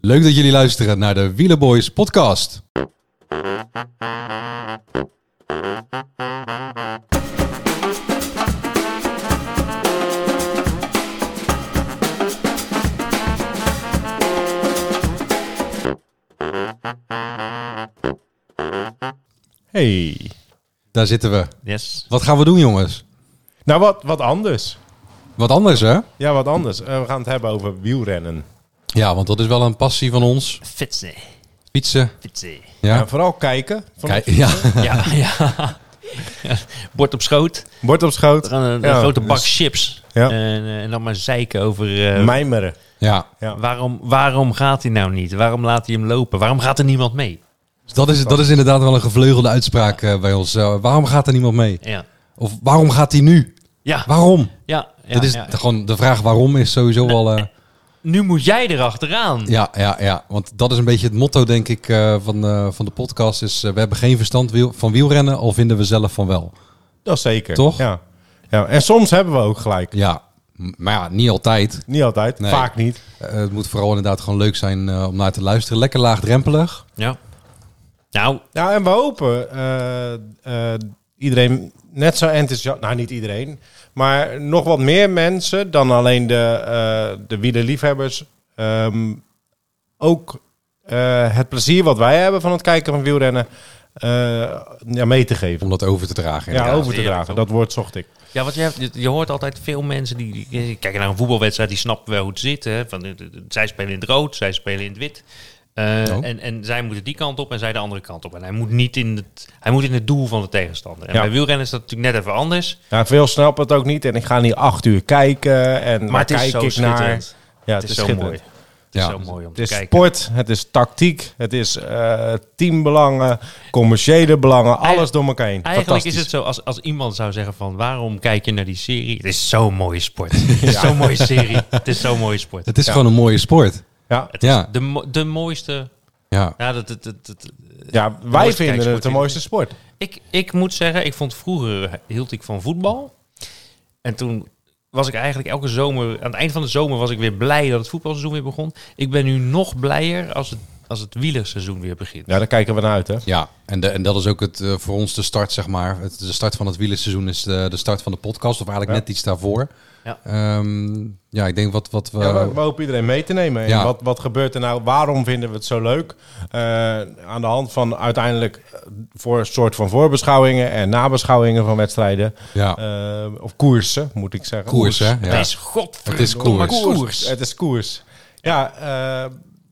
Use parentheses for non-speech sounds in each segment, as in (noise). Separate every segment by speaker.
Speaker 1: Leuk dat jullie luisteren naar de Wielerboys podcast.
Speaker 2: Hey.
Speaker 1: Daar zitten we.
Speaker 2: Yes.
Speaker 1: Wat gaan we doen jongens?
Speaker 2: Nou, wat, wat anders.
Speaker 1: Wat anders hè?
Speaker 2: Ja, wat anders. Eh, we gaan het hebben over wielrennen.
Speaker 1: Ja, want dat is wel een passie van ons.
Speaker 3: Fitse.
Speaker 1: Fietsen.
Speaker 3: Fitse.
Speaker 1: Ja.
Speaker 2: En vooral kijken. Van
Speaker 1: Kijk, ja. (laughs)
Speaker 3: (laughs) Ja, ja. Ja, Bord op schoot.
Speaker 2: Bord op
Speaker 3: We
Speaker 2: schoot.
Speaker 3: gaan een, een
Speaker 2: Ja,
Speaker 3: grote bak
Speaker 2: dus
Speaker 3: chips.
Speaker 2: Ja.
Speaker 3: En, eh, en dan maar zeiken over... eh,
Speaker 2: Mijmeren.
Speaker 1: ja.
Speaker 2: Ja.
Speaker 3: waarom, waarom gaat hij nou niet? Waarom laat hij hem lopen? Waarom gaat er niemand mee?
Speaker 1: Dus Dat, is, dat is inderdaad wel een gevleugelde uitspraak eh, bij ons. Eh, waarom gaat er niemand mee?
Speaker 3: Ja.
Speaker 1: Of waarom gaat hij nu?
Speaker 3: Ja.
Speaker 1: Waarom?
Speaker 3: Ja. ja,
Speaker 1: dat is
Speaker 3: ja.
Speaker 1: gewoon de vraag waarom is sowieso wel. eh,
Speaker 3: Nu moet jij erachteraan.
Speaker 1: ja, ja, ja. Want dat is een beetje het motto, denk ik, eh, van, eh, van de podcast. Is eh, we hebben geen verstand wiel- van wielrennen, al vinden we zelf van wel.
Speaker 2: Dat zeker.
Speaker 1: Toch?
Speaker 2: Ja. ja. En soms hebben we ook gelijk.
Speaker 1: Ja, m- maar ja, niet altijd.
Speaker 2: Niet altijd.
Speaker 1: Nee.
Speaker 2: Vaak niet.
Speaker 1: Eh, het moet vooral inderdaad gewoon leuk zijn eh, om naar te luisteren. Lekker laagdrempelig.
Speaker 3: Ja. Nou,
Speaker 2: Nou, en we hopen eh, eh, iedereen net zo enthousiast... Nou, niet iedereen. Maar nog wat meer mensen dan alleen de, eh de wielerliefhebbers... ehm, ook eh, het plezier wat wij hebben van het kijken van wielrennen... eh, ja, mee te geven.
Speaker 1: Om dat over te dragen.
Speaker 2: Ja,
Speaker 1: inderdaad.
Speaker 2: over te
Speaker 3: heerlijk,
Speaker 2: dragen.
Speaker 3: toch?
Speaker 2: Dat woord zocht ik.
Speaker 3: Ja, want je, hebt- je hoort altijd veel mensen die, die die kijken naar een voetbalwedstrijd, die snappen wel hoe het zit. Hè? Van, eh, zij spelen in het rood, zij spelen in het wit. Eh,
Speaker 1: Oh.
Speaker 3: en, en zij moeten die kant op en zij de andere kant op. En hij moet niet in het, hij moet in het doel van de tegenstander. En
Speaker 2: Ja.
Speaker 3: bij wielrennen is dat natuurlijk net even anders.
Speaker 2: Ja, Nou, veel snappen het ook niet. En ik ga niet acht uur kijken. En
Speaker 3: Maar,
Speaker 2: waar
Speaker 3: het is
Speaker 2: kijk
Speaker 3: zo
Speaker 2: ik naar. Ja,
Speaker 3: schitterend. het, is zo
Speaker 2: schitterend.
Speaker 3: mooi. Het
Speaker 1: Ja.
Speaker 3: is zo mooi om
Speaker 2: Het
Speaker 3: te
Speaker 2: is
Speaker 3: kijken.
Speaker 2: sport, het is tactiek, het is eh, teambelangen, commerciële belangen, alles
Speaker 3: Eigen-
Speaker 2: door elkaar heen.
Speaker 3: Eigenlijk is
Speaker 2: Fantastisch.
Speaker 3: het zo, als, als iemand zou zeggen van waarom kijk je naar die serie? Het is zo'n mooie sport. Het is zo'n mooie serie. Het is zo'n mooie sport.
Speaker 1: Het is gewoon een mooie sport.
Speaker 2: Ja,
Speaker 3: Het is
Speaker 1: ja.
Speaker 3: de, mo- de mooiste...
Speaker 1: Ja.
Speaker 3: Ja, dat, dat, dat, dat-
Speaker 2: ja wij
Speaker 3: mooiste
Speaker 2: vinden het
Speaker 3: kijksport
Speaker 2: de
Speaker 3: in-
Speaker 2: mooiste sport.
Speaker 3: Ik, ik moet zeggen, ik vond vroeger hield ik van voetbal. En toen was ik eigenlijk elke zomer, aan het eind van de zomer was ik weer blij dat het voetbalseizoen weer begon. Ik ben nu nog blijer als het, als het wielerseizoen weer begint.
Speaker 2: Ja, daar kijken we naar uit, hè?
Speaker 1: Ja, en, de, en dat is ook het, eh, voor ons de start, zeg maar. Het, de start van het wielerseizoen is de, de start van de podcast. Of eigenlijk
Speaker 2: Ja.
Speaker 1: net iets daarvoor.
Speaker 3: Ja.
Speaker 1: Ehm, ja, ik denk wat, wat we...
Speaker 2: Ja, we, we hopen iedereen mee te nemen. En
Speaker 1: Ja.
Speaker 2: Wat, wat gebeurt er nou? Waarom vinden we het zo leuk? Eh, aan de hand van uiteindelijk eh, voor een soort van voorbeschouwingen en nabeschouwingen van wedstrijden.
Speaker 1: ja.
Speaker 2: Eh, of koersen, moet ik zeggen.
Speaker 1: koers, hè?
Speaker 3: Het
Speaker 1: Ja.
Speaker 3: is
Speaker 1: Het is
Speaker 3: godverdomme
Speaker 1: koers.
Speaker 3: koers.
Speaker 2: Het is koers. Ja, eh,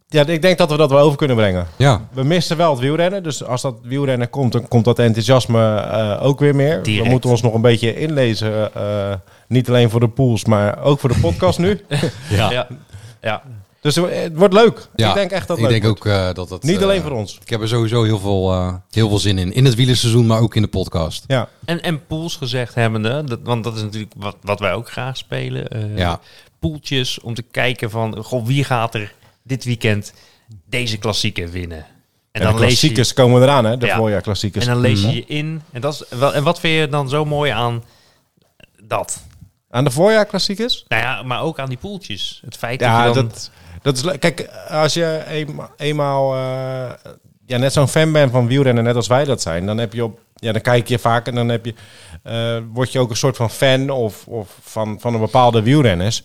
Speaker 2: ja, ik denk dat we dat wel over kunnen brengen.
Speaker 1: Ja.
Speaker 2: We missen wel het wielrennen. Dus als dat wielrennen komt, dan komt dat enthousiasme eh, ook weer meer.
Speaker 3: Direct.
Speaker 2: We moeten ons nog een beetje inlezen. eh, niet alleen voor de pools, maar ook voor de podcast
Speaker 3: (laughs)
Speaker 2: nu.
Speaker 3: Ja. Ja. Ja.
Speaker 2: Dus het wordt leuk.
Speaker 1: Ja,
Speaker 2: ik denk echt dat het
Speaker 1: ik
Speaker 2: leuk
Speaker 1: denk
Speaker 2: wordt.
Speaker 1: ook eh, dat dat...
Speaker 2: Niet
Speaker 1: eh,
Speaker 2: alleen voor ons.
Speaker 1: Ik heb er sowieso heel veel, eh, heel veel zin in. In het wielerseizoen, maar ook in de podcast.
Speaker 2: Ja,
Speaker 3: En, en pools gezegd hebbende, dat, want dat is natuurlijk wat, wat wij ook graag spelen. eh,
Speaker 1: Ja.
Speaker 3: Poeltjes om te kijken van, goh, wie gaat er dit weekend deze klassieker winnen? En
Speaker 2: en de
Speaker 3: dan lees je
Speaker 2: klassiekers komen eraan, hè? De
Speaker 3: Ja.
Speaker 2: voorjaarklassiekers.
Speaker 3: En dan lees je je in. En, dat is wel, en wat vind je dan zo mooi aan dat?
Speaker 2: Aan de voorjaarklassiekers?
Speaker 3: Nou ja, maar ook aan die poeltjes. Het feit
Speaker 2: Ja,
Speaker 3: dat je dan...
Speaker 2: dat, dat is leuk. Kijk, als je een- eenmaal eh, ja, net zo'n fan bent van wielrennen, net als wij dat zijn, dan heb je op. Ja, dan kijk je vaak en dan heb je, eh, word je ook een soort van fan of, of van, van een bepaalde wielrenners.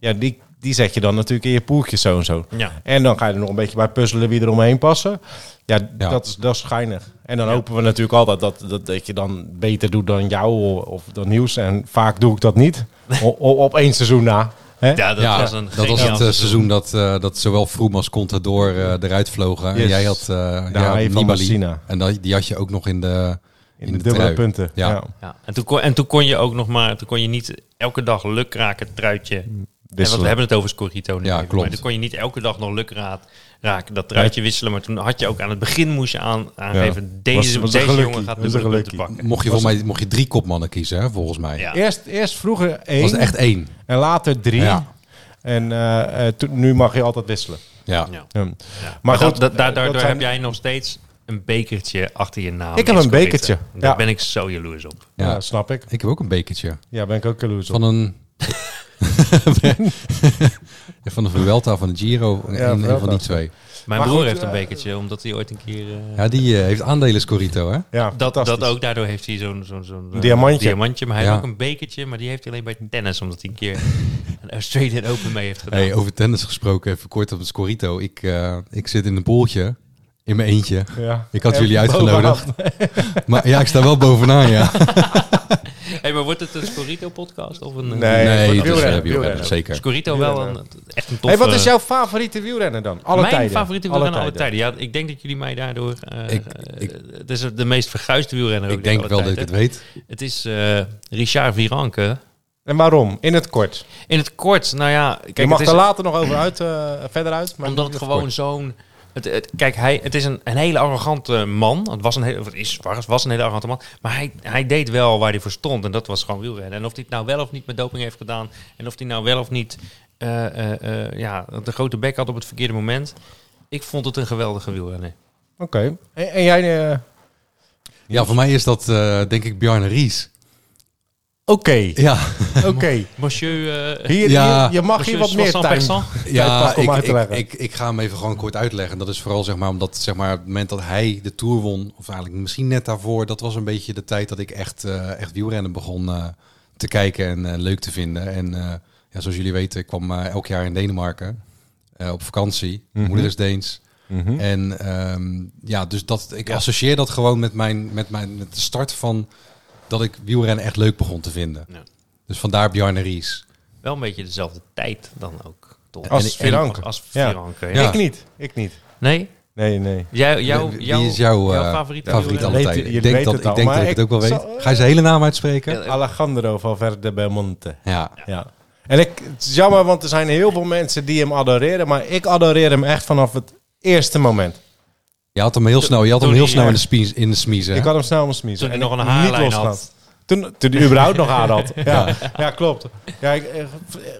Speaker 2: Ja, die, die zet je dan natuurlijk in je poeltje zo en zo.
Speaker 3: Ja.
Speaker 2: En dan ga je er nog een beetje bij puzzelen wie er omheen passen. Ja,
Speaker 1: Ja.
Speaker 2: Dat, is, dat is schijnig. En dan hopen we natuurlijk altijd dat, dat, dat je dan beter doet dan jou of, of dan nieuws. En vaak doe ik dat niet. O- o- op één seizoen na. Hè?
Speaker 3: ja, dat
Speaker 1: ja,
Speaker 3: was een
Speaker 1: dat was
Speaker 3: geniaal
Speaker 1: het eh, seizoen dat, eh, dat zowel Froome als Contador eh, eruit vlogen. En
Speaker 2: Yes.
Speaker 1: jij had eh
Speaker 2: hij
Speaker 1: ja,
Speaker 2: heeft van
Speaker 1: Nibali.
Speaker 2: Messina.
Speaker 1: En dat, die had je ook nog in de, in
Speaker 2: In de dubbele
Speaker 1: trui.
Speaker 2: punten.
Speaker 1: Ja.
Speaker 3: Ja. En, toen kon, en toen kon je ook nog maar... Toen kon je niet elke dag lukraken truitje... En wat, we
Speaker 2: Mm, Wisselen.
Speaker 3: hebben het over Scorito nu.
Speaker 1: Ja,
Speaker 3: even,
Speaker 1: klopt.
Speaker 3: Maar toen kon je niet elke dag nog lukraak raken, dat truitje wisselen. Maar toen had je ook aan het begin moest je aan, aangeven... Deze,
Speaker 2: Was- was een
Speaker 3: deze jongen
Speaker 2: gelukkie. Was
Speaker 3: gaat
Speaker 2: een
Speaker 3: de punten
Speaker 2: gelukkie.
Speaker 3: pakken.
Speaker 1: Mocht je, volgens mij, mocht je drie kopmannen kiezen, hè, volgens mij.
Speaker 3: Ja.
Speaker 2: Eerst, eerst vroeger één
Speaker 1: Was er echt één?
Speaker 2: en later drie.
Speaker 1: Ja.
Speaker 2: En eh, eh, toen- nu mag je altijd wisselen. Hm.
Speaker 1: Ja.
Speaker 3: Ja.
Speaker 2: Ja.
Speaker 3: Ja. Maar,
Speaker 2: Maar goed, eh,
Speaker 3: dat, dat- daar-
Speaker 2: dat
Speaker 3: daardoor
Speaker 2: zijn-
Speaker 3: heb jij nog steeds een bekertje achter je naam.
Speaker 2: Ik heb
Speaker 3: in
Speaker 2: een
Speaker 3: Scorito.
Speaker 2: bekertje,
Speaker 3: Daar
Speaker 2: ja.
Speaker 3: ben ik zo jaloers op.
Speaker 1: Ja.
Speaker 2: Ja, snap ik.
Speaker 1: Ik heb ook een bekertje.
Speaker 2: (laughs) Ja, ben ik ook jaloers op.
Speaker 1: Van een van de Vuelta, van de Giro,
Speaker 2: Ja,
Speaker 1: een, een
Speaker 2: Vuelta.
Speaker 1: van die twee.
Speaker 3: Mijn
Speaker 2: Maar
Speaker 3: broer
Speaker 2: goed,
Speaker 3: heeft een
Speaker 2: eh,
Speaker 3: bekertje, omdat hij ooit een keer... eh,
Speaker 1: Ja, die eh, heeft aandelen Scorito, hè?
Speaker 2: Ja,
Speaker 3: dat,
Speaker 2: fantastisch.
Speaker 3: dat ook, daardoor heeft hij zo'n zo'n zo'n eh,
Speaker 2: Diamantje.
Speaker 3: diamantje. Maar hij
Speaker 1: Ja.
Speaker 3: heeft ook een bekertje, maar die heeft hij alleen bij tennis, omdat hij een keer een Australian Open mee heeft gedaan.
Speaker 1: Hey, oh. over tennis gesproken, even kort op het Scorito. Ik, eh, ik zit in een pooltje, in mijn eentje.
Speaker 2: Ja.
Speaker 1: Ik had
Speaker 2: En (laughs)
Speaker 1: jullie
Speaker 2: bovenaf.
Speaker 1: uitgenodigd. Maar ja, ik sta wel bovenaan, ja.
Speaker 3: Hey, maar wordt het een Scorito-podcast of een...
Speaker 2: Nee,
Speaker 3: een-
Speaker 1: Nee, dat
Speaker 2: wielrennen,
Speaker 1: is eh, wielrennen,
Speaker 2: wielrennen.
Speaker 1: zeker.
Speaker 3: Scorito wel een, echt een
Speaker 2: Hey,
Speaker 3: toffe...
Speaker 2: wat is jouw favoriete wielrenner dan? Alle
Speaker 3: eh, mijn
Speaker 2: tijden.
Speaker 3: favoriete wielrenner alle tijden. Ja, ik denk dat jullie mij daardoor... eh,
Speaker 1: Ik-
Speaker 3: eh,
Speaker 1: ik-
Speaker 3: het is de meest verguisde wielrenner
Speaker 1: Ik denk wel dat ik het weet.
Speaker 3: weet. Het is eh, Richard Viranke.
Speaker 2: En waarom? In het kort.
Speaker 3: In het kort, nou ja... Kijk,
Speaker 2: je mag
Speaker 3: het
Speaker 2: er
Speaker 3: is,
Speaker 2: later nog over uit, eh, verder uit. Maar
Speaker 3: omdat
Speaker 2: in
Speaker 3: het
Speaker 2: het
Speaker 3: gewoon
Speaker 2: kort.
Speaker 3: zo'n... Het, het- kijk, hij, het is een, een hele arrogante man. Het was een hele, of is, was, was een hele arrogante man. Maar hij, hij deed wel waar hij voor stond. En dat was gewoon wielrennen. En of hij het nou wel of niet met doping heeft gedaan. En of hij nou wel of niet eh, eh, eh, ja, de grote bek had op het verkeerde moment. Ik vond het een geweldige wielrenner.
Speaker 2: Oké. En, en jij... eh,
Speaker 1: Ja, voor mij is dat eh, denk ik Bjarne Ries. (laughs)
Speaker 2: Oké, (laughs)
Speaker 1: Ja,
Speaker 2: oké.
Speaker 3: Monsieur... eh,
Speaker 2: Hier,
Speaker 1: Ja.
Speaker 2: hier- je mag hier
Speaker 3: monsieur
Speaker 2: wat meer
Speaker 3: Soissons
Speaker 2: tijd.
Speaker 3: Persan.
Speaker 1: ja
Speaker 2: pak om
Speaker 1: ik,
Speaker 2: uit te
Speaker 1: ik,
Speaker 2: leggen.
Speaker 1: ik, ik ga hem even gewoon kort uitleggen. Dat is vooral zeg maar omdat zeg maar, het moment dat hij de Tour won, of eigenlijk misschien net daarvoor, dat was een beetje de tijd dat ik echt, eh, echt wielrennen begon eh, te kijken en eh, leuk te vinden. En eh, ja, zoals jullie weten, ik kwam eh, elk jaar in Denemarken eh, op vakantie. Mijn
Speaker 2: Mhm.
Speaker 1: moeder is Deens.
Speaker 3: Hm?
Speaker 1: En ehm, ja, dus dat, ik associeer dat gewoon met, mijn, met, mijn, met de start van dat ik wielrennen echt leuk begon te vinden.
Speaker 3: Ja.
Speaker 1: Dus vandaar Bjarne Ries.
Speaker 3: Wel een beetje dezelfde tijd dan ook. Toch?
Speaker 2: Als
Speaker 3: En- en-
Speaker 2: Viranke.
Speaker 3: Als, als
Speaker 2: Ja.
Speaker 3: Viranke, ja.
Speaker 1: Ja.
Speaker 2: Ik niet, ik niet.
Speaker 3: Nee?
Speaker 2: Nee, nee.
Speaker 3: Jou, jou,
Speaker 1: Wie- wie
Speaker 3: jou-
Speaker 1: is jouw, eh,
Speaker 3: favoriete
Speaker 1: Favoriet
Speaker 3: wielrenner?
Speaker 1: alle
Speaker 2: Weet-
Speaker 1: tijden.
Speaker 2: jullie
Speaker 1: Ik denk dat
Speaker 2: weten het
Speaker 1: ik,
Speaker 2: al,
Speaker 1: denk dat
Speaker 2: maar
Speaker 1: ik het ook wel
Speaker 2: ik
Speaker 1: weet.
Speaker 2: zal-
Speaker 1: Ga je zijn hele naam uitspreken?
Speaker 3: Ja,
Speaker 2: Alejandro Valverde Belmonte.
Speaker 1: Ja.
Speaker 2: Ja. En ik, het is jammer, want er zijn heel veel mensen die hem adoreren. Maar ik adoreer hem echt vanaf het eerste moment.
Speaker 1: Je had hem heel snel, je had hem
Speaker 3: Toen
Speaker 1: heel
Speaker 3: hij
Speaker 1: snel in de,
Speaker 3: er-
Speaker 1: spies, in de smiezen. hè?
Speaker 2: Ik had hem snel om smiezen.
Speaker 3: Toen hij
Speaker 2: En
Speaker 3: nog een
Speaker 2: niet
Speaker 3: haarlijn
Speaker 2: losgelaten.
Speaker 3: had.
Speaker 2: Toen, toen hij überhaupt nog haar
Speaker 3: (laughs)
Speaker 2: had. Ja, ja. klopt. Ja, ik, eh,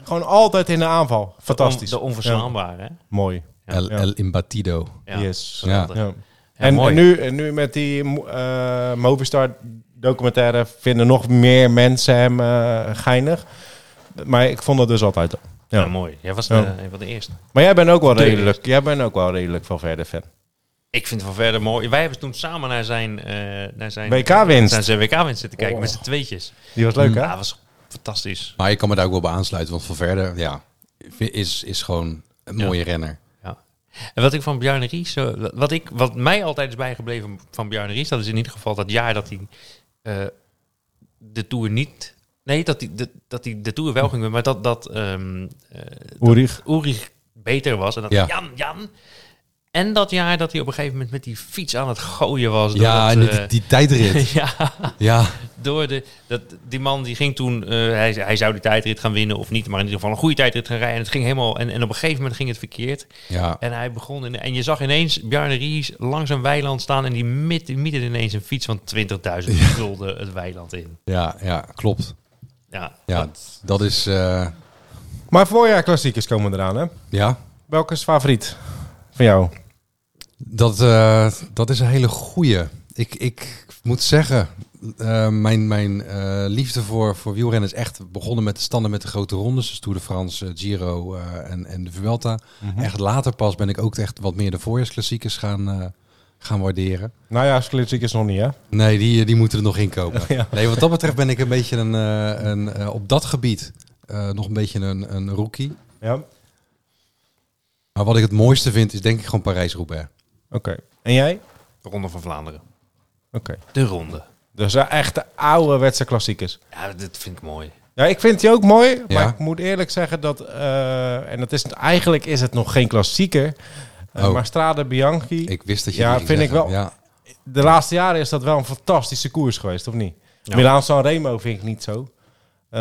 Speaker 2: gewoon altijd in de aanval. Fantastisch.
Speaker 3: De onverslaanbare. hè?
Speaker 2: Ja, mooi.
Speaker 1: El,
Speaker 2: Ja.
Speaker 1: El Imbatido.
Speaker 3: Ja.
Speaker 2: Yes.
Speaker 1: Ja.
Speaker 3: geweldig.
Speaker 2: Ja.
Speaker 3: Ja,
Speaker 2: en,
Speaker 3: mooi.
Speaker 2: en nu, en nu met die mo- eh, Movistar documentaire vinden nog meer mensen hem eh, geinig. Maar ik vond het dus altijd al.
Speaker 3: Ja,
Speaker 2: Ja.
Speaker 3: mooi. Jij was de-
Speaker 2: Ja.
Speaker 3: een van de eerste.
Speaker 2: Maar jij bent ook wel
Speaker 3: Tuurlijk.
Speaker 2: redelijk, jij bent ook wel redelijk van verder fan.
Speaker 3: Ik vind Van Verder mooi. Wij hebben toen samen naar zijn, eh, naar zijn
Speaker 2: WK-winst.
Speaker 3: naar zijn WK-winst zitten kijken
Speaker 2: Oh.
Speaker 3: met z'n tweetjes.
Speaker 2: Die was leuk, hè?
Speaker 3: Ja,
Speaker 1: Mm.
Speaker 3: dat was fantastisch.
Speaker 1: Maar ik kan me daar ook wel bij aansluiten, want van verder, ja, is, is gewoon een
Speaker 3: Ja.
Speaker 1: mooie renner.
Speaker 3: En wat ik van Bjarne Ries, eh, wat, ik, wat mij altijd is bijgebleven van Bjarne Ries, dat is in ieder geval dat jaar dat hij eh, de Tour niet... Nee, dat hij de, dat hij de Tour wel ging winnen, maar dat, dat ehm, eh,
Speaker 2: Oerig.
Speaker 3: Ulrich beter was. En dat
Speaker 1: Ja.
Speaker 3: Jan, Jan. En dat jaar dat hij op een gegeven moment met die fiets aan het gooien was.
Speaker 1: Ja, en
Speaker 3: doordat,
Speaker 1: die,
Speaker 3: eh,
Speaker 1: die
Speaker 3: (laughs)
Speaker 1: tijdrit.
Speaker 3: ja,
Speaker 1: ja,
Speaker 3: door de, dat, die man die ging toen, eh, hij, hij zou die tijdrit gaan winnen of niet, maar in ieder geval een goede tijdrit gaan rijden. En, het ging helemaal, en, en op een gegeven moment ging het verkeerd.
Speaker 1: ja.
Speaker 3: En hij begon, in, en je zag ineens Bjarne Ries langs een weiland staan en die midden, midden ineens een fiets van 20.000 gulden het weiland in.
Speaker 1: Ja, ja, klopt.
Speaker 3: Ja,
Speaker 1: Ja,
Speaker 3: dat-
Speaker 1: dat is, eh,
Speaker 2: Maar voorjaar klassiekers komen eraan, hè?
Speaker 1: ja,
Speaker 2: Welke is favoriet van jou?
Speaker 1: Dat, eh, dat is een hele goeie. Ik, ik moet zeggen, eh, mijn, mijn eh, liefde voor, voor wielrennen is echt begonnen met de standen met de grote rondes. Dus Tour de France, eh, Giro eh, en, en de Vuelta.
Speaker 2: Mhm.
Speaker 1: Echt later pas ben ik ook echt wat meer de voorjaarsklassiekers gaan, eh, gaan waarderen.
Speaker 2: Najaarsklassiekers nog niet, hè?
Speaker 1: Nee, die, die moeten er nog inkomen.
Speaker 2: (laughs) Ja.
Speaker 1: Nee, wat dat betreft ben ik een beetje een, eh, een, eh, op dat gebied eh, nog een beetje een, een rookie.
Speaker 2: Ja, oké.
Speaker 1: Maar wat ik het mooiste vind is denk ik gewoon Parijs-Roubaix.
Speaker 2: En jij? Oké.
Speaker 3: Ronde van Vlaanderen. De ronde.
Speaker 2: Dus eh, echt de ouderwetse klassiekers.
Speaker 3: Ja, dat vind ik mooi.
Speaker 2: Ja, ik vind die ook mooi.
Speaker 1: Ja.
Speaker 2: Maar ik moet eerlijk zeggen dat... eh, en dat is, eigenlijk is het nog geen klassieker. eh,
Speaker 1: Oh.
Speaker 2: Maar Strade Bianchi...
Speaker 1: Ik wist dat je
Speaker 2: Ja,
Speaker 1: die ging
Speaker 2: vind ik
Speaker 1: zeggen.
Speaker 2: wel.
Speaker 1: Ja.
Speaker 2: De laatste jaren is dat wel een fantastische koers geweest, of niet?
Speaker 3: Ja.
Speaker 2: Milaan San Remo vind ik niet zo. Eh,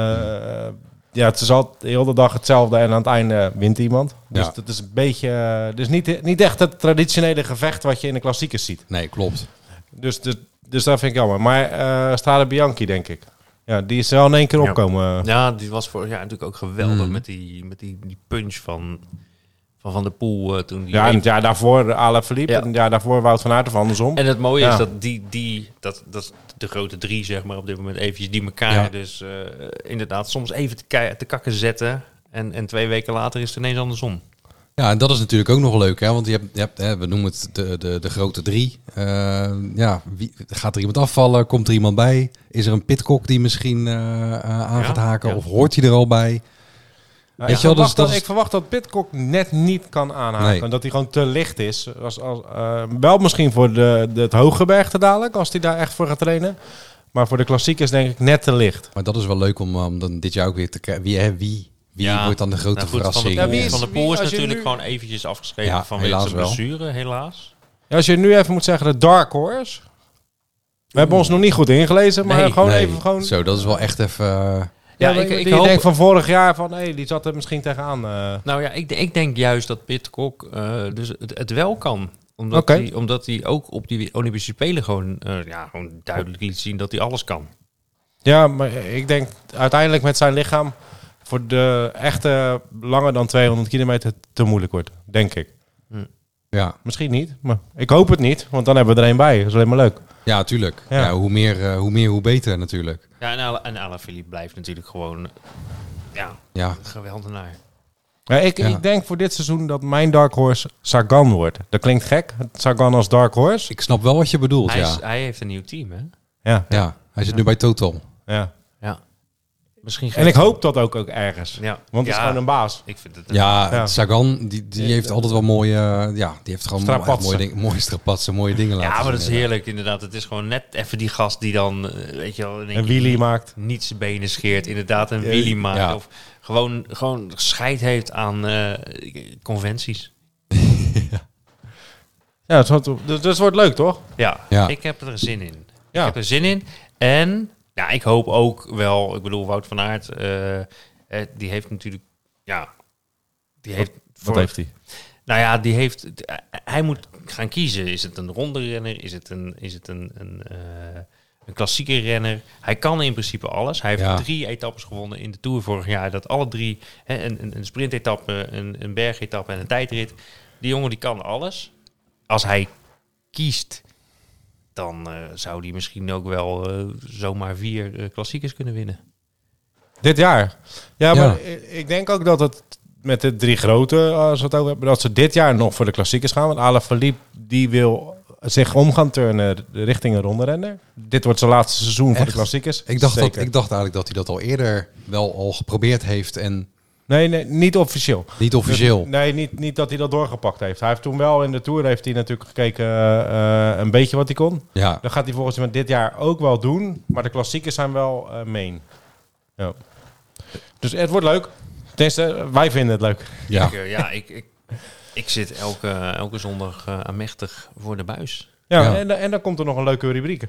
Speaker 2: Ja, het is altijd heel de dag hetzelfde en aan het einde wint iemand. Dus
Speaker 1: Ja.
Speaker 2: dat is een beetje... eh, Dus niet, niet echt het traditionele gevecht wat je in de klassiekers ziet.
Speaker 1: Nee, klopt.
Speaker 2: Dus, dus, dus dat vind ik jammer. Maar eh Strade Bianchi, denk ik. Ja, die is er wel in één keer
Speaker 3: Ja.
Speaker 2: opkomen.
Speaker 3: Ja, die was vorig jaar natuurlijk ook geweldig
Speaker 1: Mm.
Speaker 3: met, die, met die, die punch van van Van der Poel eh, toen. Die
Speaker 2: Ja, en het jaar daarvoor Ala Verliep.
Speaker 3: Ja.
Speaker 2: En het jaar daarvoor Wout van Aert of andersom.
Speaker 3: En het mooie
Speaker 2: Ja.
Speaker 3: is dat die, die dat, dat de grote drie, zeg maar, op dit moment eventjes die elkaar
Speaker 1: Ja.
Speaker 3: dus eh, inderdaad soms even te, kei- te kakken zetten. En, en twee weken later is het ineens andersom.
Speaker 1: Ja, en dat is natuurlijk ook nog leuk, hè? want je hebt, je hebt hè, we noemen het de, de, de grote drie. Eh, ja, wie, gaat er iemand afvallen? Komt er iemand bij? Is er een pitkok die misschien eh, eh, aan
Speaker 3: Ja,
Speaker 1: gaat haken?
Speaker 3: ja.
Speaker 1: Of hoort hij er al bij?
Speaker 2: Nou,
Speaker 1: Weet
Speaker 2: ik,
Speaker 1: je wel,
Speaker 2: verwacht
Speaker 1: dus dat
Speaker 2: dat,
Speaker 1: is-
Speaker 2: ik verwacht dat Pitcock net niet kan aanhaken.
Speaker 1: Nee.
Speaker 2: Dat hij gewoon te licht is. Als, als, eh, wel misschien voor de, de, het hoge bergte dadelijk, als hij daar echt voor gaat trainen. Maar voor de klassiekers denk ik net te licht.
Speaker 1: Maar dat is wel leuk om um, dan dit jaar ook weer te kijken. Wie, hè, wie, wie
Speaker 3: Ja.
Speaker 1: wordt dan de grote
Speaker 3: Nou goed,
Speaker 1: verrassing?
Speaker 2: Ja,
Speaker 3: Van de
Speaker 2: wie
Speaker 3: Poel,
Speaker 2: is-
Speaker 3: van de Poel is
Speaker 2: als je
Speaker 3: natuurlijk
Speaker 2: nu-
Speaker 3: gewoon eventjes afgeschreven
Speaker 1: Ja,
Speaker 3: vanwege
Speaker 1: helaas
Speaker 3: zijn
Speaker 1: wel.
Speaker 3: blessure, helaas.
Speaker 2: Ja, als je nu even moet zeggen, de Dark Horse. We hebben ons nog niet goed ingelezen, maar
Speaker 3: Nee,
Speaker 2: gewoon
Speaker 1: Nee,
Speaker 2: even... Gewoon,
Speaker 1: Zo, dat is wel echt even... eh,
Speaker 2: ja,
Speaker 3: Ja, ik-
Speaker 2: ik,
Speaker 3: ik
Speaker 2: die
Speaker 3: hoop-
Speaker 2: denkt van vorig jaar van, hé, die zat er misschien tegenaan. eh.
Speaker 3: Nou ja, ik, ik denk juist dat Pitcock eh, dus het, het wel kan. Omdat,
Speaker 2: Oké.
Speaker 3: hij, omdat hij ook op die Olympische Spelen gewoon, eh, ja, gewoon duidelijk liet zien dat hij alles kan.
Speaker 2: Ja, maar ik denk uiteindelijk met zijn lichaam voor de echte langer dan 200 kilometer te moeilijk wordt, denk ik.
Speaker 1: ja.
Speaker 2: Misschien niet, maar ik hoop het niet, want dan hebben we er een bij. Dat is alleen maar leuk.
Speaker 1: ja, tuurlijk. Ja.
Speaker 2: Ja.
Speaker 1: hoe, meer, eh, hoe meer, hoe beter natuurlijk.
Speaker 3: Ja, en, Ala- en Alaphilippe blijft natuurlijk gewoon ja,
Speaker 1: Ja,
Speaker 3: een geweldenaar.
Speaker 2: Ja, ik,
Speaker 1: Ja.
Speaker 2: ik denk voor dit seizoen dat mijn Dark Horse Sagan wordt. Dat klinkt gek, Sagan als Dark Horse.
Speaker 1: ik snap wel wat je bedoelt,
Speaker 3: Hij,
Speaker 1: ja.
Speaker 3: is, hij heeft een nieuw team, hè?
Speaker 2: Ja,
Speaker 1: Ja, hij zit nu bij Total.
Speaker 2: ja.
Speaker 3: Ja. Misschien
Speaker 2: En ik hoop dat ook, ook ergens,
Speaker 3: Ja.
Speaker 2: want
Speaker 3: ja,
Speaker 2: het is gewoon een baas.
Speaker 3: Ik vind het...
Speaker 1: Ja,
Speaker 2: Ja.
Speaker 1: Sagan, die, die heeft altijd wel mooie... eh, ja, die heeft gewoon
Speaker 2: Strapatsen.
Speaker 1: echt mooie, ding, mooie strapatsen, mooie dingen laten
Speaker 3: ja, maar dat
Speaker 1: zien,
Speaker 3: is heerlijk inderdaad. Het is gewoon net even die gast die dan, eh, weet je wel... in één
Speaker 2: En
Speaker 3: keer
Speaker 2: Willy maakt.
Speaker 3: Niet zijn benen scheert, inderdaad een
Speaker 2: Ja.
Speaker 3: wheelie maakt.
Speaker 1: Ja.
Speaker 3: Of gewoon, gewoon scheid heeft aan eh, conventies.
Speaker 2: Ja, het wordt, dus het wordt leuk, toch?
Speaker 3: Ja,
Speaker 1: Ja.
Speaker 3: ik heb er zin in. Ik
Speaker 2: Ja.
Speaker 3: heb er zin in. En ja, ik hoop ook wel, ik bedoel, Wout van Aert, eh, eh, die heeft natuurlijk, ja, die heeft... voor-
Speaker 2: hij?
Speaker 3: Nou ja, die heeft, eh, hij moet gaan kiezen. Is het een ronde renner? Is het een, is het een, een, eh, een klassieke renner? Hij kan in principe alles. Hij heeft
Speaker 1: Ja.
Speaker 3: drie etappes gewonnen in de Tour vorig jaar. Dat alle drie, hè, een, een, een sprintetappe, een, een bergetappe en een tijdrit. Die jongen die kan alles. Als hij kiest, dan eh, zou die misschien ook wel eh, zomaar vier eh, klassiekers kunnen winnen.
Speaker 2: Dit jaar. Ja,
Speaker 1: Ja.
Speaker 2: maar i- ik denk ook dat het met de drie grote, eh, als we het over hebben, dat ze dit jaar nog voor de klassiekers gaan. Want Alaphilippe, die wil zich om gaan turnen richting een ronderenner. Dit wordt zijn laatste seizoen voor de
Speaker 1: Echt?
Speaker 2: klassiekers.
Speaker 1: Ik dacht, dat,
Speaker 2: Zeker.
Speaker 1: ik dacht eigenlijk dat hij dat al eerder wel al geprobeerd heeft en
Speaker 2: Nee, nee, niet officieel. Dus,
Speaker 1: niet officieel.
Speaker 2: Nee, niet, niet dat hij dat doorgepakt heeft. Hij heeft toen wel in de Tour heeft hij natuurlijk gekeken eh, eh, een beetje wat hij kon.
Speaker 1: Ja,
Speaker 2: Dat gaat hij volgens mij dit jaar ook wel doen. Maar de klassiekers zijn wel eh main. Ja. Dus het wordt leuk. Tenminste, wij vinden het leuk.
Speaker 1: ja.
Speaker 3: Ik, eh, ja ik, ik, ik zit elke, elke zondag eh aanmächtig voor de buis.
Speaker 2: Ja,
Speaker 1: Ja.
Speaker 2: En, en dan komt er nog een leuke rubriek.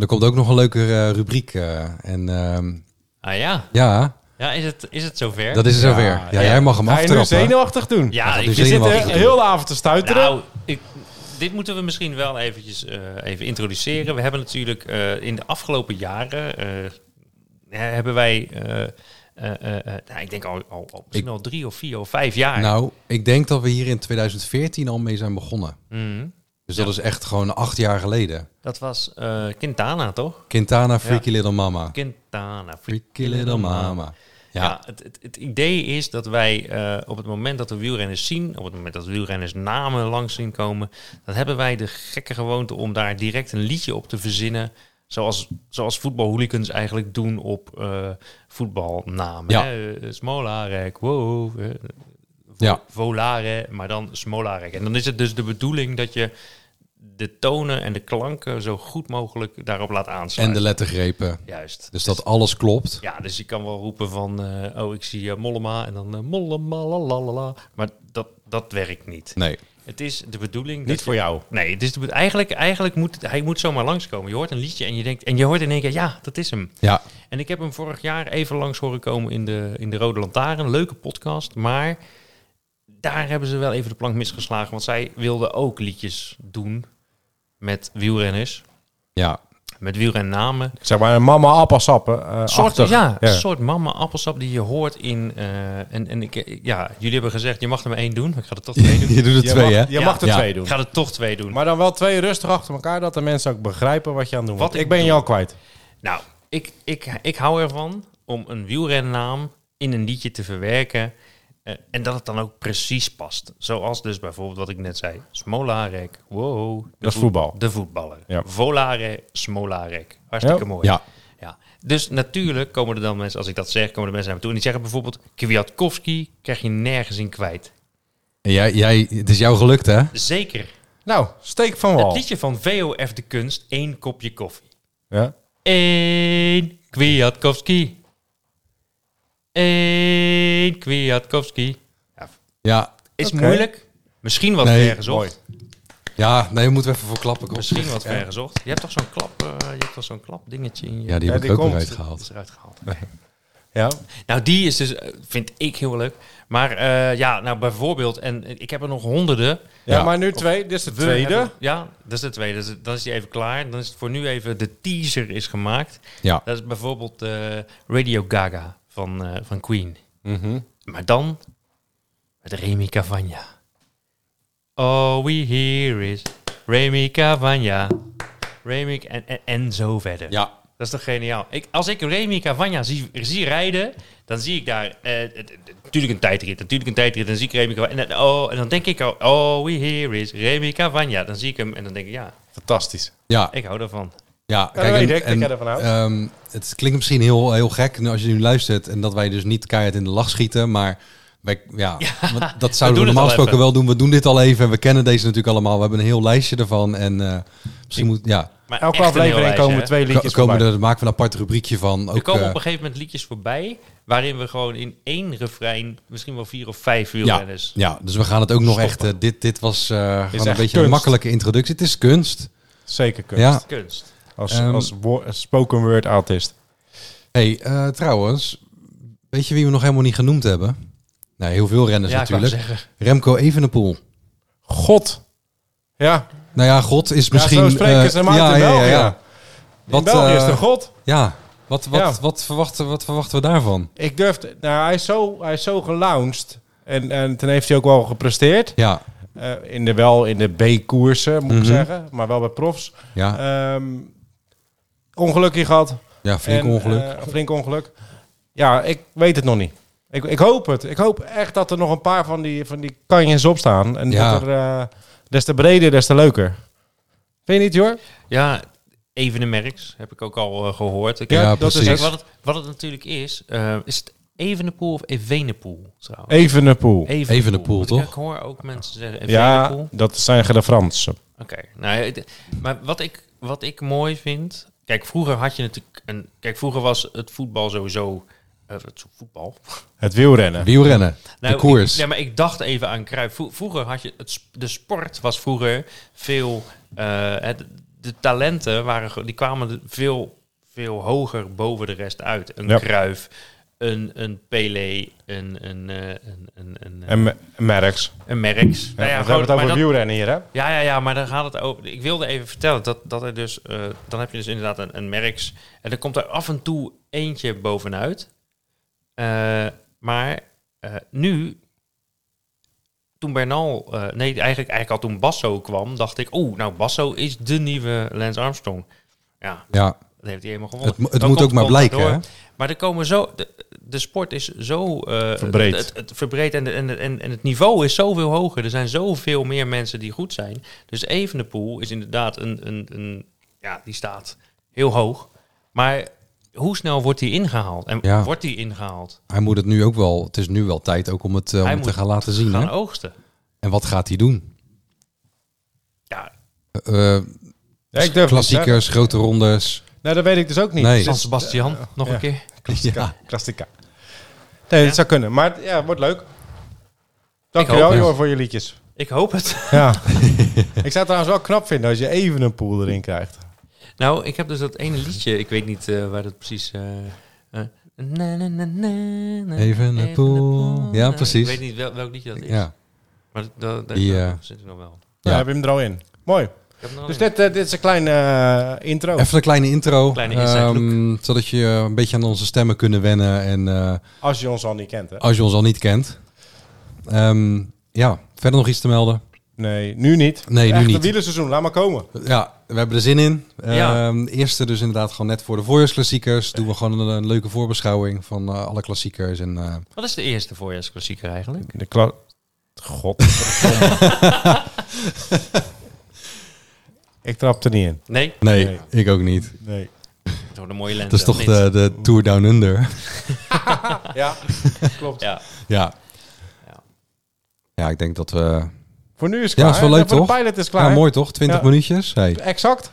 Speaker 1: Er komt ook nog een leuke eh, rubriek. eh, en ehm,
Speaker 3: Ah ja,
Speaker 1: ja,
Speaker 3: ja is, het, is het zover?
Speaker 1: dat is er zover. Ja,
Speaker 2: Ja, ja.
Speaker 1: jij mag hem
Speaker 2: Ga je nu
Speaker 1: aftrappen.
Speaker 2: zenuwachtig doen?
Speaker 3: ja,
Speaker 1: dat
Speaker 3: ik
Speaker 1: is
Speaker 2: Je
Speaker 3: zit
Speaker 2: zit
Speaker 1: helemaal
Speaker 2: er
Speaker 1: goed.
Speaker 2: heel de avond te stuiteren.
Speaker 3: Nou, ik, dit moeten we misschien wel eventjes eh, even introduceren. We hebben natuurlijk eh, in de afgelopen jaren... eh, hè, hebben wij... eh, eh, eh, eh, nou, ik denk al, al, al, misschien al drie of vier of vijf jaar.
Speaker 1: Nou, ik denk dat we hier in 2014 al mee zijn begonnen.
Speaker 3: Mhm.
Speaker 1: Dus dat is echt gewoon acht jaar geleden.
Speaker 3: Dat was eh, Quintana, toch?
Speaker 1: Quintana, Freaky Little Mama.
Speaker 3: Quintana.
Speaker 1: Freaky Little Mama.
Speaker 3: Ja,
Speaker 1: Ja,
Speaker 3: het, het, het idee is dat wij eh, op het moment dat we wielrenners zien, op het moment dat we wielrenners namen langs zien komen, dan hebben wij de gekke gewoonte om daar direct een liedje op te verzinnen. Zoals, zoals voetbalhooligans eigenlijk doen op eh, voetbalnamen.
Speaker 1: Ja.
Speaker 3: hè. Eh, Smolarek, wow. eh, Vo-
Speaker 1: Ja.
Speaker 3: Volare, maar dan Smolarek. En dan is het dus de bedoeling dat je de tonen en de klanken zo goed mogelijk daarop laat aanslaan.
Speaker 1: en de lettergrepen.
Speaker 3: Juist.
Speaker 1: Dus dat alles klopt.
Speaker 3: Ja, dus je kan wel roepen van, eh, oh, ik zie eh, Mollema en dan eh, Mollema, la, la, la, la. Maar dat, dat werkt niet.
Speaker 1: Nee.
Speaker 3: Het is de bedoeling... dat
Speaker 2: Niet
Speaker 3: je-
Speaker 2: voor jou.
Speaker 3: Nee, het is de be- eigenlijk, eigenlijk moet hij moet zomaar langskomen. Je hoort een liedje en je, denkt, en je hoort in één keer, ja, dat is hem.
Speaker 1: Ja,
Speaker 3: En ik heb hem vorig jaar even langs horen komen in de, in de Rode Lantaarn. Leuke podcast, maar daar hebben ze wel even de plank misgeslagen. Want zij wilden ook liedjes doen met wielrenners.
Speaker 1: ja.
Speaker 3: met wielrennamen.
Speaker 2: Zeg maar een mama appelsappen. eh
Speaker 3: Soort,
Speaker 2: achtig.
Speaker 3: ja,
Speaker 2: Ja.
Speaker 3: een soort mama appelsap die je hoort in... eh, en en ik, ja, jullie hebben gezegd, je mag er maar één doen. maar Ik ga er toch
Speaker 2: (laughs)
Speaker 3: twee doen.
Speaker 1: Je doet er
Speaker 2: Je
Speaker 1: twee,
Speaker 2: mag,
Speaker 1: hè?
Speaker 2: Je
Speaker 3: Ja.
Speaker 2: mag er
Speaker 1: Ja.
Speaker 2: twee doen.
Speaker 3: Ik ga er toch twee doen.
Speaker 2: Maar dan wel twee rustig achter elkaar, dat de mensen ook begrijpen wat je aan het doen
Speaker 3: Wat
Speaker 2: bent. Ik
Speaker 3: ik
Speaker 2: ben je
Speaker 3: bedoel.
Speaker 2: al kwijt.
Speaker 3: Nou, ik, ik, ik hou ervan om een wielrennaam in een liedje te verwerken. eh, en dat het dan ook precies past. Zoals dus bijvoorbeeld wat ik net zei. Smolarek, wow. de
Speaker 2: Dat is
Speaker 3: voet-
Speaker 2: voetbal.
Speaker 3: De voetballer.
Speaker 2: Ja.
Speaker 3: Volare, Smolarek. Hartstikke
Speaker 2: Ja.
Speaker 3: mooi.
Speaker 1: Ja.
Speaker 3: Ja. Dus natuurlijk komen er dan mensen, als ik dat zeg, komen er mensen naar me toe. En die zeggen bijvoorbeeld, Kwiatkowski krijg je nergens in kwijt.
Speaker 1: En Jij, jij, het is jou gelukt, hè?
Speaker 3: Zeker.
Speaker 2: Nou, steek van
Speaker 3: Het
Speaker 1: Oh.
Speaker 2: wal.
Speaker 3: liedje van VOF de Kunst, één kopje koffie.
Speaker 2: Ja.
Speaker 3: 1 Kwiatkowski. 1 Kwiatkowski. Ja,
Speaker 1: Ja.
Speaker 3: is
Speaker 2: Oké.
Speaker 3: moeilijk. Misschien wat
Speaker 1: Nee,
Speaker 3: vergezocht.
Speaker 1: Ja, nee, moeten we even voor klappen. Kom.
Speaker 3: Misschien wat vergezocht. Je hebt toch zo'n klap, eh, je hebt toch zo'n klap dingetje in je.
Speaker 1: Ja, die
Speaker 2: Ja,
Speaker 1: heb
Speaker 2: die
Speaker 1: ik ook
Speaker 2: komt.
Speaker 1: weer
Speaker 3: dat
Speaker 1: uitgehaald.
Speaker 3: is eruit gehaald.
Speaker 2: ja.
Speaker 3: Nou, die is dus, eh, vind ik heel leuk. Maar eh, ja, nou bijvoorbeeld, en ik heb er nog honderden.
Speaker 2: Ja,
Speaker 1: Ja.
Speaker 2: maar nu twee. Dit is de
Speaker 3: We
Speaker 2: tweede.
Speaker 3: hebben- ja, dat is de tweede. Dus Dan is die even klaar. Dan is het voor nu even, de teaser is gemaakt.
Speaker 1: Ja.
Speaker 3: Dat is bijvoorbeeld eh, Radio Gaga van, eh, van Queen. Maar dan met Remy Cavagna. All we hear is Remy Cavagna. Remy en, en, en zo verder.
Speaker 1: Ja.
Speaker 3: Dat is toch geniaal? Ik, als ik Remy Cavagna zie, zie rijden, dan zie ik daar eh, het- het- het- natuurlijk een tijdrit. Natuurlijk een tijdrit. Dan zie ik Remy Cavagna. En, dan- oh, en dan denk ik al, all we hear is Remy Cavagna. Dan zie ik hem en dan denk ik, ja,
Speaker 2: Fantastisch.
Speaker 1: Ja.
Speaker 3: ik hou daarvan.
Speaker 1: Ja,
Speaker 2: dat weet ik, dat jij ervan houdt.
Speaker 1: ehm, het klinkt misschien heel, heel gek nu als je nu luistert en dat wij dus niet keihard in de lach schieten, maar wij, ja,
Speaker 3: (laughs)
Speaker 1: want dat
Speaker 3: doen het
Speaker 1: zouden we,
Speaker 3: al
Speaker 1: normaal gesproken
Speaker 3: even.
Speaker 1: wel doen. We doen dit al even en we kennen deze natuurlijk allemaal. We hebben een heel lijstje ervan en eh, misschien moet, ja,
Speaker 3: Maar echt
Speaker 2: Elke
Speaker 3: een heel
Speaker 2: aflevering
Speaker 3: lijstje,
Speaker 2: komen
Speaker 3: hè?
Speaker 2: twee
Speaker 1: ko-
Speaker 2: liedjes
Speaker 1: komen
Speaker 2: voorbij.
Speaker 1: er, maken we een apart rubriekje van. Ook,
Speaker 3: Er komen
Speaker 1: eh,
Speaker 3: op een gegeven moment liedjes voorbij waarin we gewoon in één refrein misschien wel vier of vijf
Speaker 1: ja,
Speaker 3: wielrenners.
Speaker 1: ja, dus we gaan het ook nog echt, eh, dit, dit was eh, gewoon een
Speaker 2: echt
Speaker 1: beetje een
Speaker 2: kunst.
Speaker 1: makkelijke introductie. Het is kunst.
Speaker 2: Zeker kunst.
Speaker 1: Ja.
Speaker 3: Kunst.
Speaker 2: Als,
Speaker 1: Ehm,
Speaker 2: als wo- als spoken word artist.
Speaker 1: hey, eh, trouwens, weet je wie we nog helemaal niet genoemd hebben? Nou, heel veel renners
Speaker 3: ja, ik wou
Speaker 1: natuurlijk.
Speaker 3: zeggen.
Speaker 1: Remco Evenepoel.
Speaker 2: God. Ja,
Speaker 1: Nou ja, God is misschien.
Speaker 2: zo spreken
Speaker 1: eh,
Speaker 2: ze hem uit in België.
Speaker 1: Wat,
Speaker 2: in België is
Speaker 1: eh,
Speaker 2: de god.
Speaker 1: Ja. Wat, wat,
Speaker 2: Ja.
Speaker 1: Wat, verwachten, wat verwachten we daarvan?
Speaker 2: Ik durfde... Nou, hij is zo, hij is zo gelaunched. En, en toen heeft hij ook wel gepresteerd.
Speaker 1: Ja.
Speaker 2: Eh, in de, wel in de B-koersen, moet
Speaker 1: Mhm.
Speaker 2: ik zeggen. Maar wel bij profs.
Speaker 1: Ja,
Speaker 2: Ehm ongelukje gehad.
Speaker 1: ja flink
Speaker 2: En,
Speaker 1: ongeluk.
Speaker 2: eh, flink ongeluk. Ja, ik weet het nog niet. Ik, ik hoop het. Ik hoop echt dat er nog een paar van die, van die kanjens op staan. En
Speaker 1: Ja.
Speaker 2: dat er, eh, des te breder, des te leuker. Vind je niet, Jor?
Speaker 3: Ja, Evenemerks heb ik ook al eh, gehoord. Ik
Speaker 1: Ja,
Speaker 3: ja,
Speaker 2: dat
Speaker 1: precies.
Speaker 2: is
Speaker 3: kijk,
Speaker 2: het.
Speaker 3: wat, het, wat het natuurlijk is, eh, is het Evenepoel of Evenepoel trouwens?
Speaker 2: Even een poel.
Speaker 1: Evenepoel,
Speaker 3: Want ik-
Speaker 1: toch?
Speaker 3: Ik hoor ook mensen zeggen Evenepoel.
Speaker 2: Ja, dat zijn de Fransen.
Speaker 3: Oké, nou, ja, het- maar wat ik, wat ik mooi vind. Kijk, vroeger had je natuurlijk een. Kijk, vroeger was het voetbal sowieso. eh, het voetbal.
Speaker 2: Het wielrennen.
Speaker 1: Wielrennen. de koers.
Speaker 3: Nou, Ik, nee, maar ik dacht even aan Cruijff. Vro- Vroeger had je het, sp- de sport was vroeger veel. eh, het, de talenten waren ge- die kwamen er veel, veel hoger boven de rest uit. Een
Speaker 2: Ja.
Speaker 3: Cruijff, een, een Pelé, een, een, eh, een, een, een,
Speaker 2: En me- en Merks.
Speaker 3: een Merckx. Nou
Speaker 2: Ja, we
Speaker 3: gewoon-
Speaker 2: hebben het
Speaker 3: maar
Speaker 2: over
Speaker 3: dat-
Speaker 2: wielrennen hier, hè?
Speaker 3: ja, ja, ja, maar dan gaat het over. Ik wilde even vertellen dat, dat er dus. eh, dan heb je dus inderdaad een, een merks. En er komt er af en toe eentje bovenuit. Eh, maar eh, nu. Toen Bernal. eh, nee, eigenlijk, eigenlijk al toen Basso kwam. dacht ik. Oeh, nou Basso is de nieuwe Lance Armstrong. Ja,
Speaker 1: ja.
Speaker 3: dat heeft hij helemaal gewonnen.
Speaker 1: Het, mo- het
Speaker 3: Dan
Speaker 1: moet
Speaker 3: komt
Speaker 1: ook maar
Speaker 3: Contador.
Speaker 1: blijken. Hè?
Speaker 3: Maar er komen zo. De, de sport is zo eh,
Speaker 2: Verbreed.
Speaker 3: Het, het verbreed en, de- en, de- en, en het niveau is zoveel hoger. Er zijn zoveel meer mensen die goed zijn. Dus Evenepoel is inderdaad een, een, een. Ja, die staat heel hoog. Maar hoe snel wordt die ingehaald? En
Speaker 1: Ja.
Speaker 3: wordt die ingehaald?
Speaker 1: Hij moet het nu ook wel. Het is nu wel tijd ook om het, eh, om
Speaker 3: Hij
Speaker 1: het te
Speaker 3: moet
Speaker 1: gaan laten zien.
Speaker 3: Gaan
Speaker 1: Hè?
Speaker 3: oogsten.
Speaker 1: En wat gaat hij doen?
Speaker 3: Ja,
Speaker 1: Eh, eh,
Speaker 2: Ja, ik durf het niet
Speaker 1: klassiekers, grote rondes.
Speaker 2: te zeggen. Nou, dat weet ik dus ook niet.
Speaker 1: Nee.
Speaker 3: San Sebastian, nog
Speaker 2: ja.
Speaker 3: een keer.
Speaker 1: Ja.
Speaker 2: Klassica. Nee, dat
Speaker 3: Ja.
Speaker 2: zou kunnen. Maar het- ja, wordt leuk.
Speaker 3: hoop
Speaker 2: Dankjewel,
Speaker 1: het.
Speaker 2: Jor, voor je liedjes.
Speaker 3: Ik hoop het.
Speaker 2: Ja. (laughs) ik zou het trouwens wel knap vinden als je even een pool erin krijgt.
Speaker 3: Nou, ik heb dus dat ene liedje. Ik weet niet eh, waar dat precies. eh, eh, na, na, na, na, na,
Speaker 1: Evenepoel. Ja, precies.
Speaker 3: Nou, Ik weet niet wel, welk liedje dat is.
Speaker 1: Ja.
Speaker 3: Maar dat, dat,
Speaker 1: Die,
Speaker 3: dat
Speaker 1: eh,
Speaker 3: zit er nog wel.
Speaker 2: Ja.
Speaker 1: Ja.
Speaker 2: heb je hem er al in. Mooi.
Speaker 3: heb nog
Speaker 2: Dus
Speaker 3: een
Speaker 2: dit, eh, dit is een kleine eh, intro.
Speaker 1: Even een kleine intro,
Speaker 3: Kleine inside
Speaker 1: ehm, zodat je een beetje aan onze stemmen kunnen wennen en eh,
Speaker 2: Als je ons al niet kent, hè?
Speaker 1: als je ons al niet kent. Ehm, ja, verder nog iets te melden?
Speaker 2: Nee, nu niet.
Speaker 1: Nee, nu
Speaker 2: Echt een
Speaker 1: niet.
Speaker 2: wielerseizoen, laat maar komen.
Speaker 1: Ja, we hebben er zin in.
Speaker 3: Ja.
Speaker 1: Ehm, eerste dus inderdaad gewoon net voor de voorjaarsklassiekers. Doen we gewoon een, een leuke voorbeschouwing van eh, alle klassiekers. En, eh,
Speaker 3: Wat is de eerste voorjaarsklassieker eigenlijk?
Speaker 2: De klas... God. (laughs) ik trap er niet in.
Speaker 3: Nee,
Speaker 1: nee,
Speaker 2: Nee.
Speaker 1: ik ook niet.
Speaker 2: Nee.
Speaker 3: het wordt een mooie lente.
Speaker 1: Dat is toch
Speaker 3: of
Speaker 1: de, de Tour Down Under?
Speaker 2: Ja,
Speaker 3: niet?
Speaker 2: klopt.
Speaker 3: Ja,
Speaker 1: ja.
Speaker 3: Ja.
Speaker 1: Ja, ik denk dat we...
Speaker 2: Voor nu is het
Speaker 1: Ja,
Speaker 2: klaar.
Speaker 1: is wel
Speaker 2: hè?
Speaker 1: leuk,
Speaker 2: voor
Speaker 1: toch?
Speaker 2: De pilot is klaar.
Speaker 1: Ja,
Speaker 2: hè?
Speaker 1: mooi toch? 20
Speaker 2: Ja.
Speaker 1: minuutjes? Hey.
Speaker 2: Exact.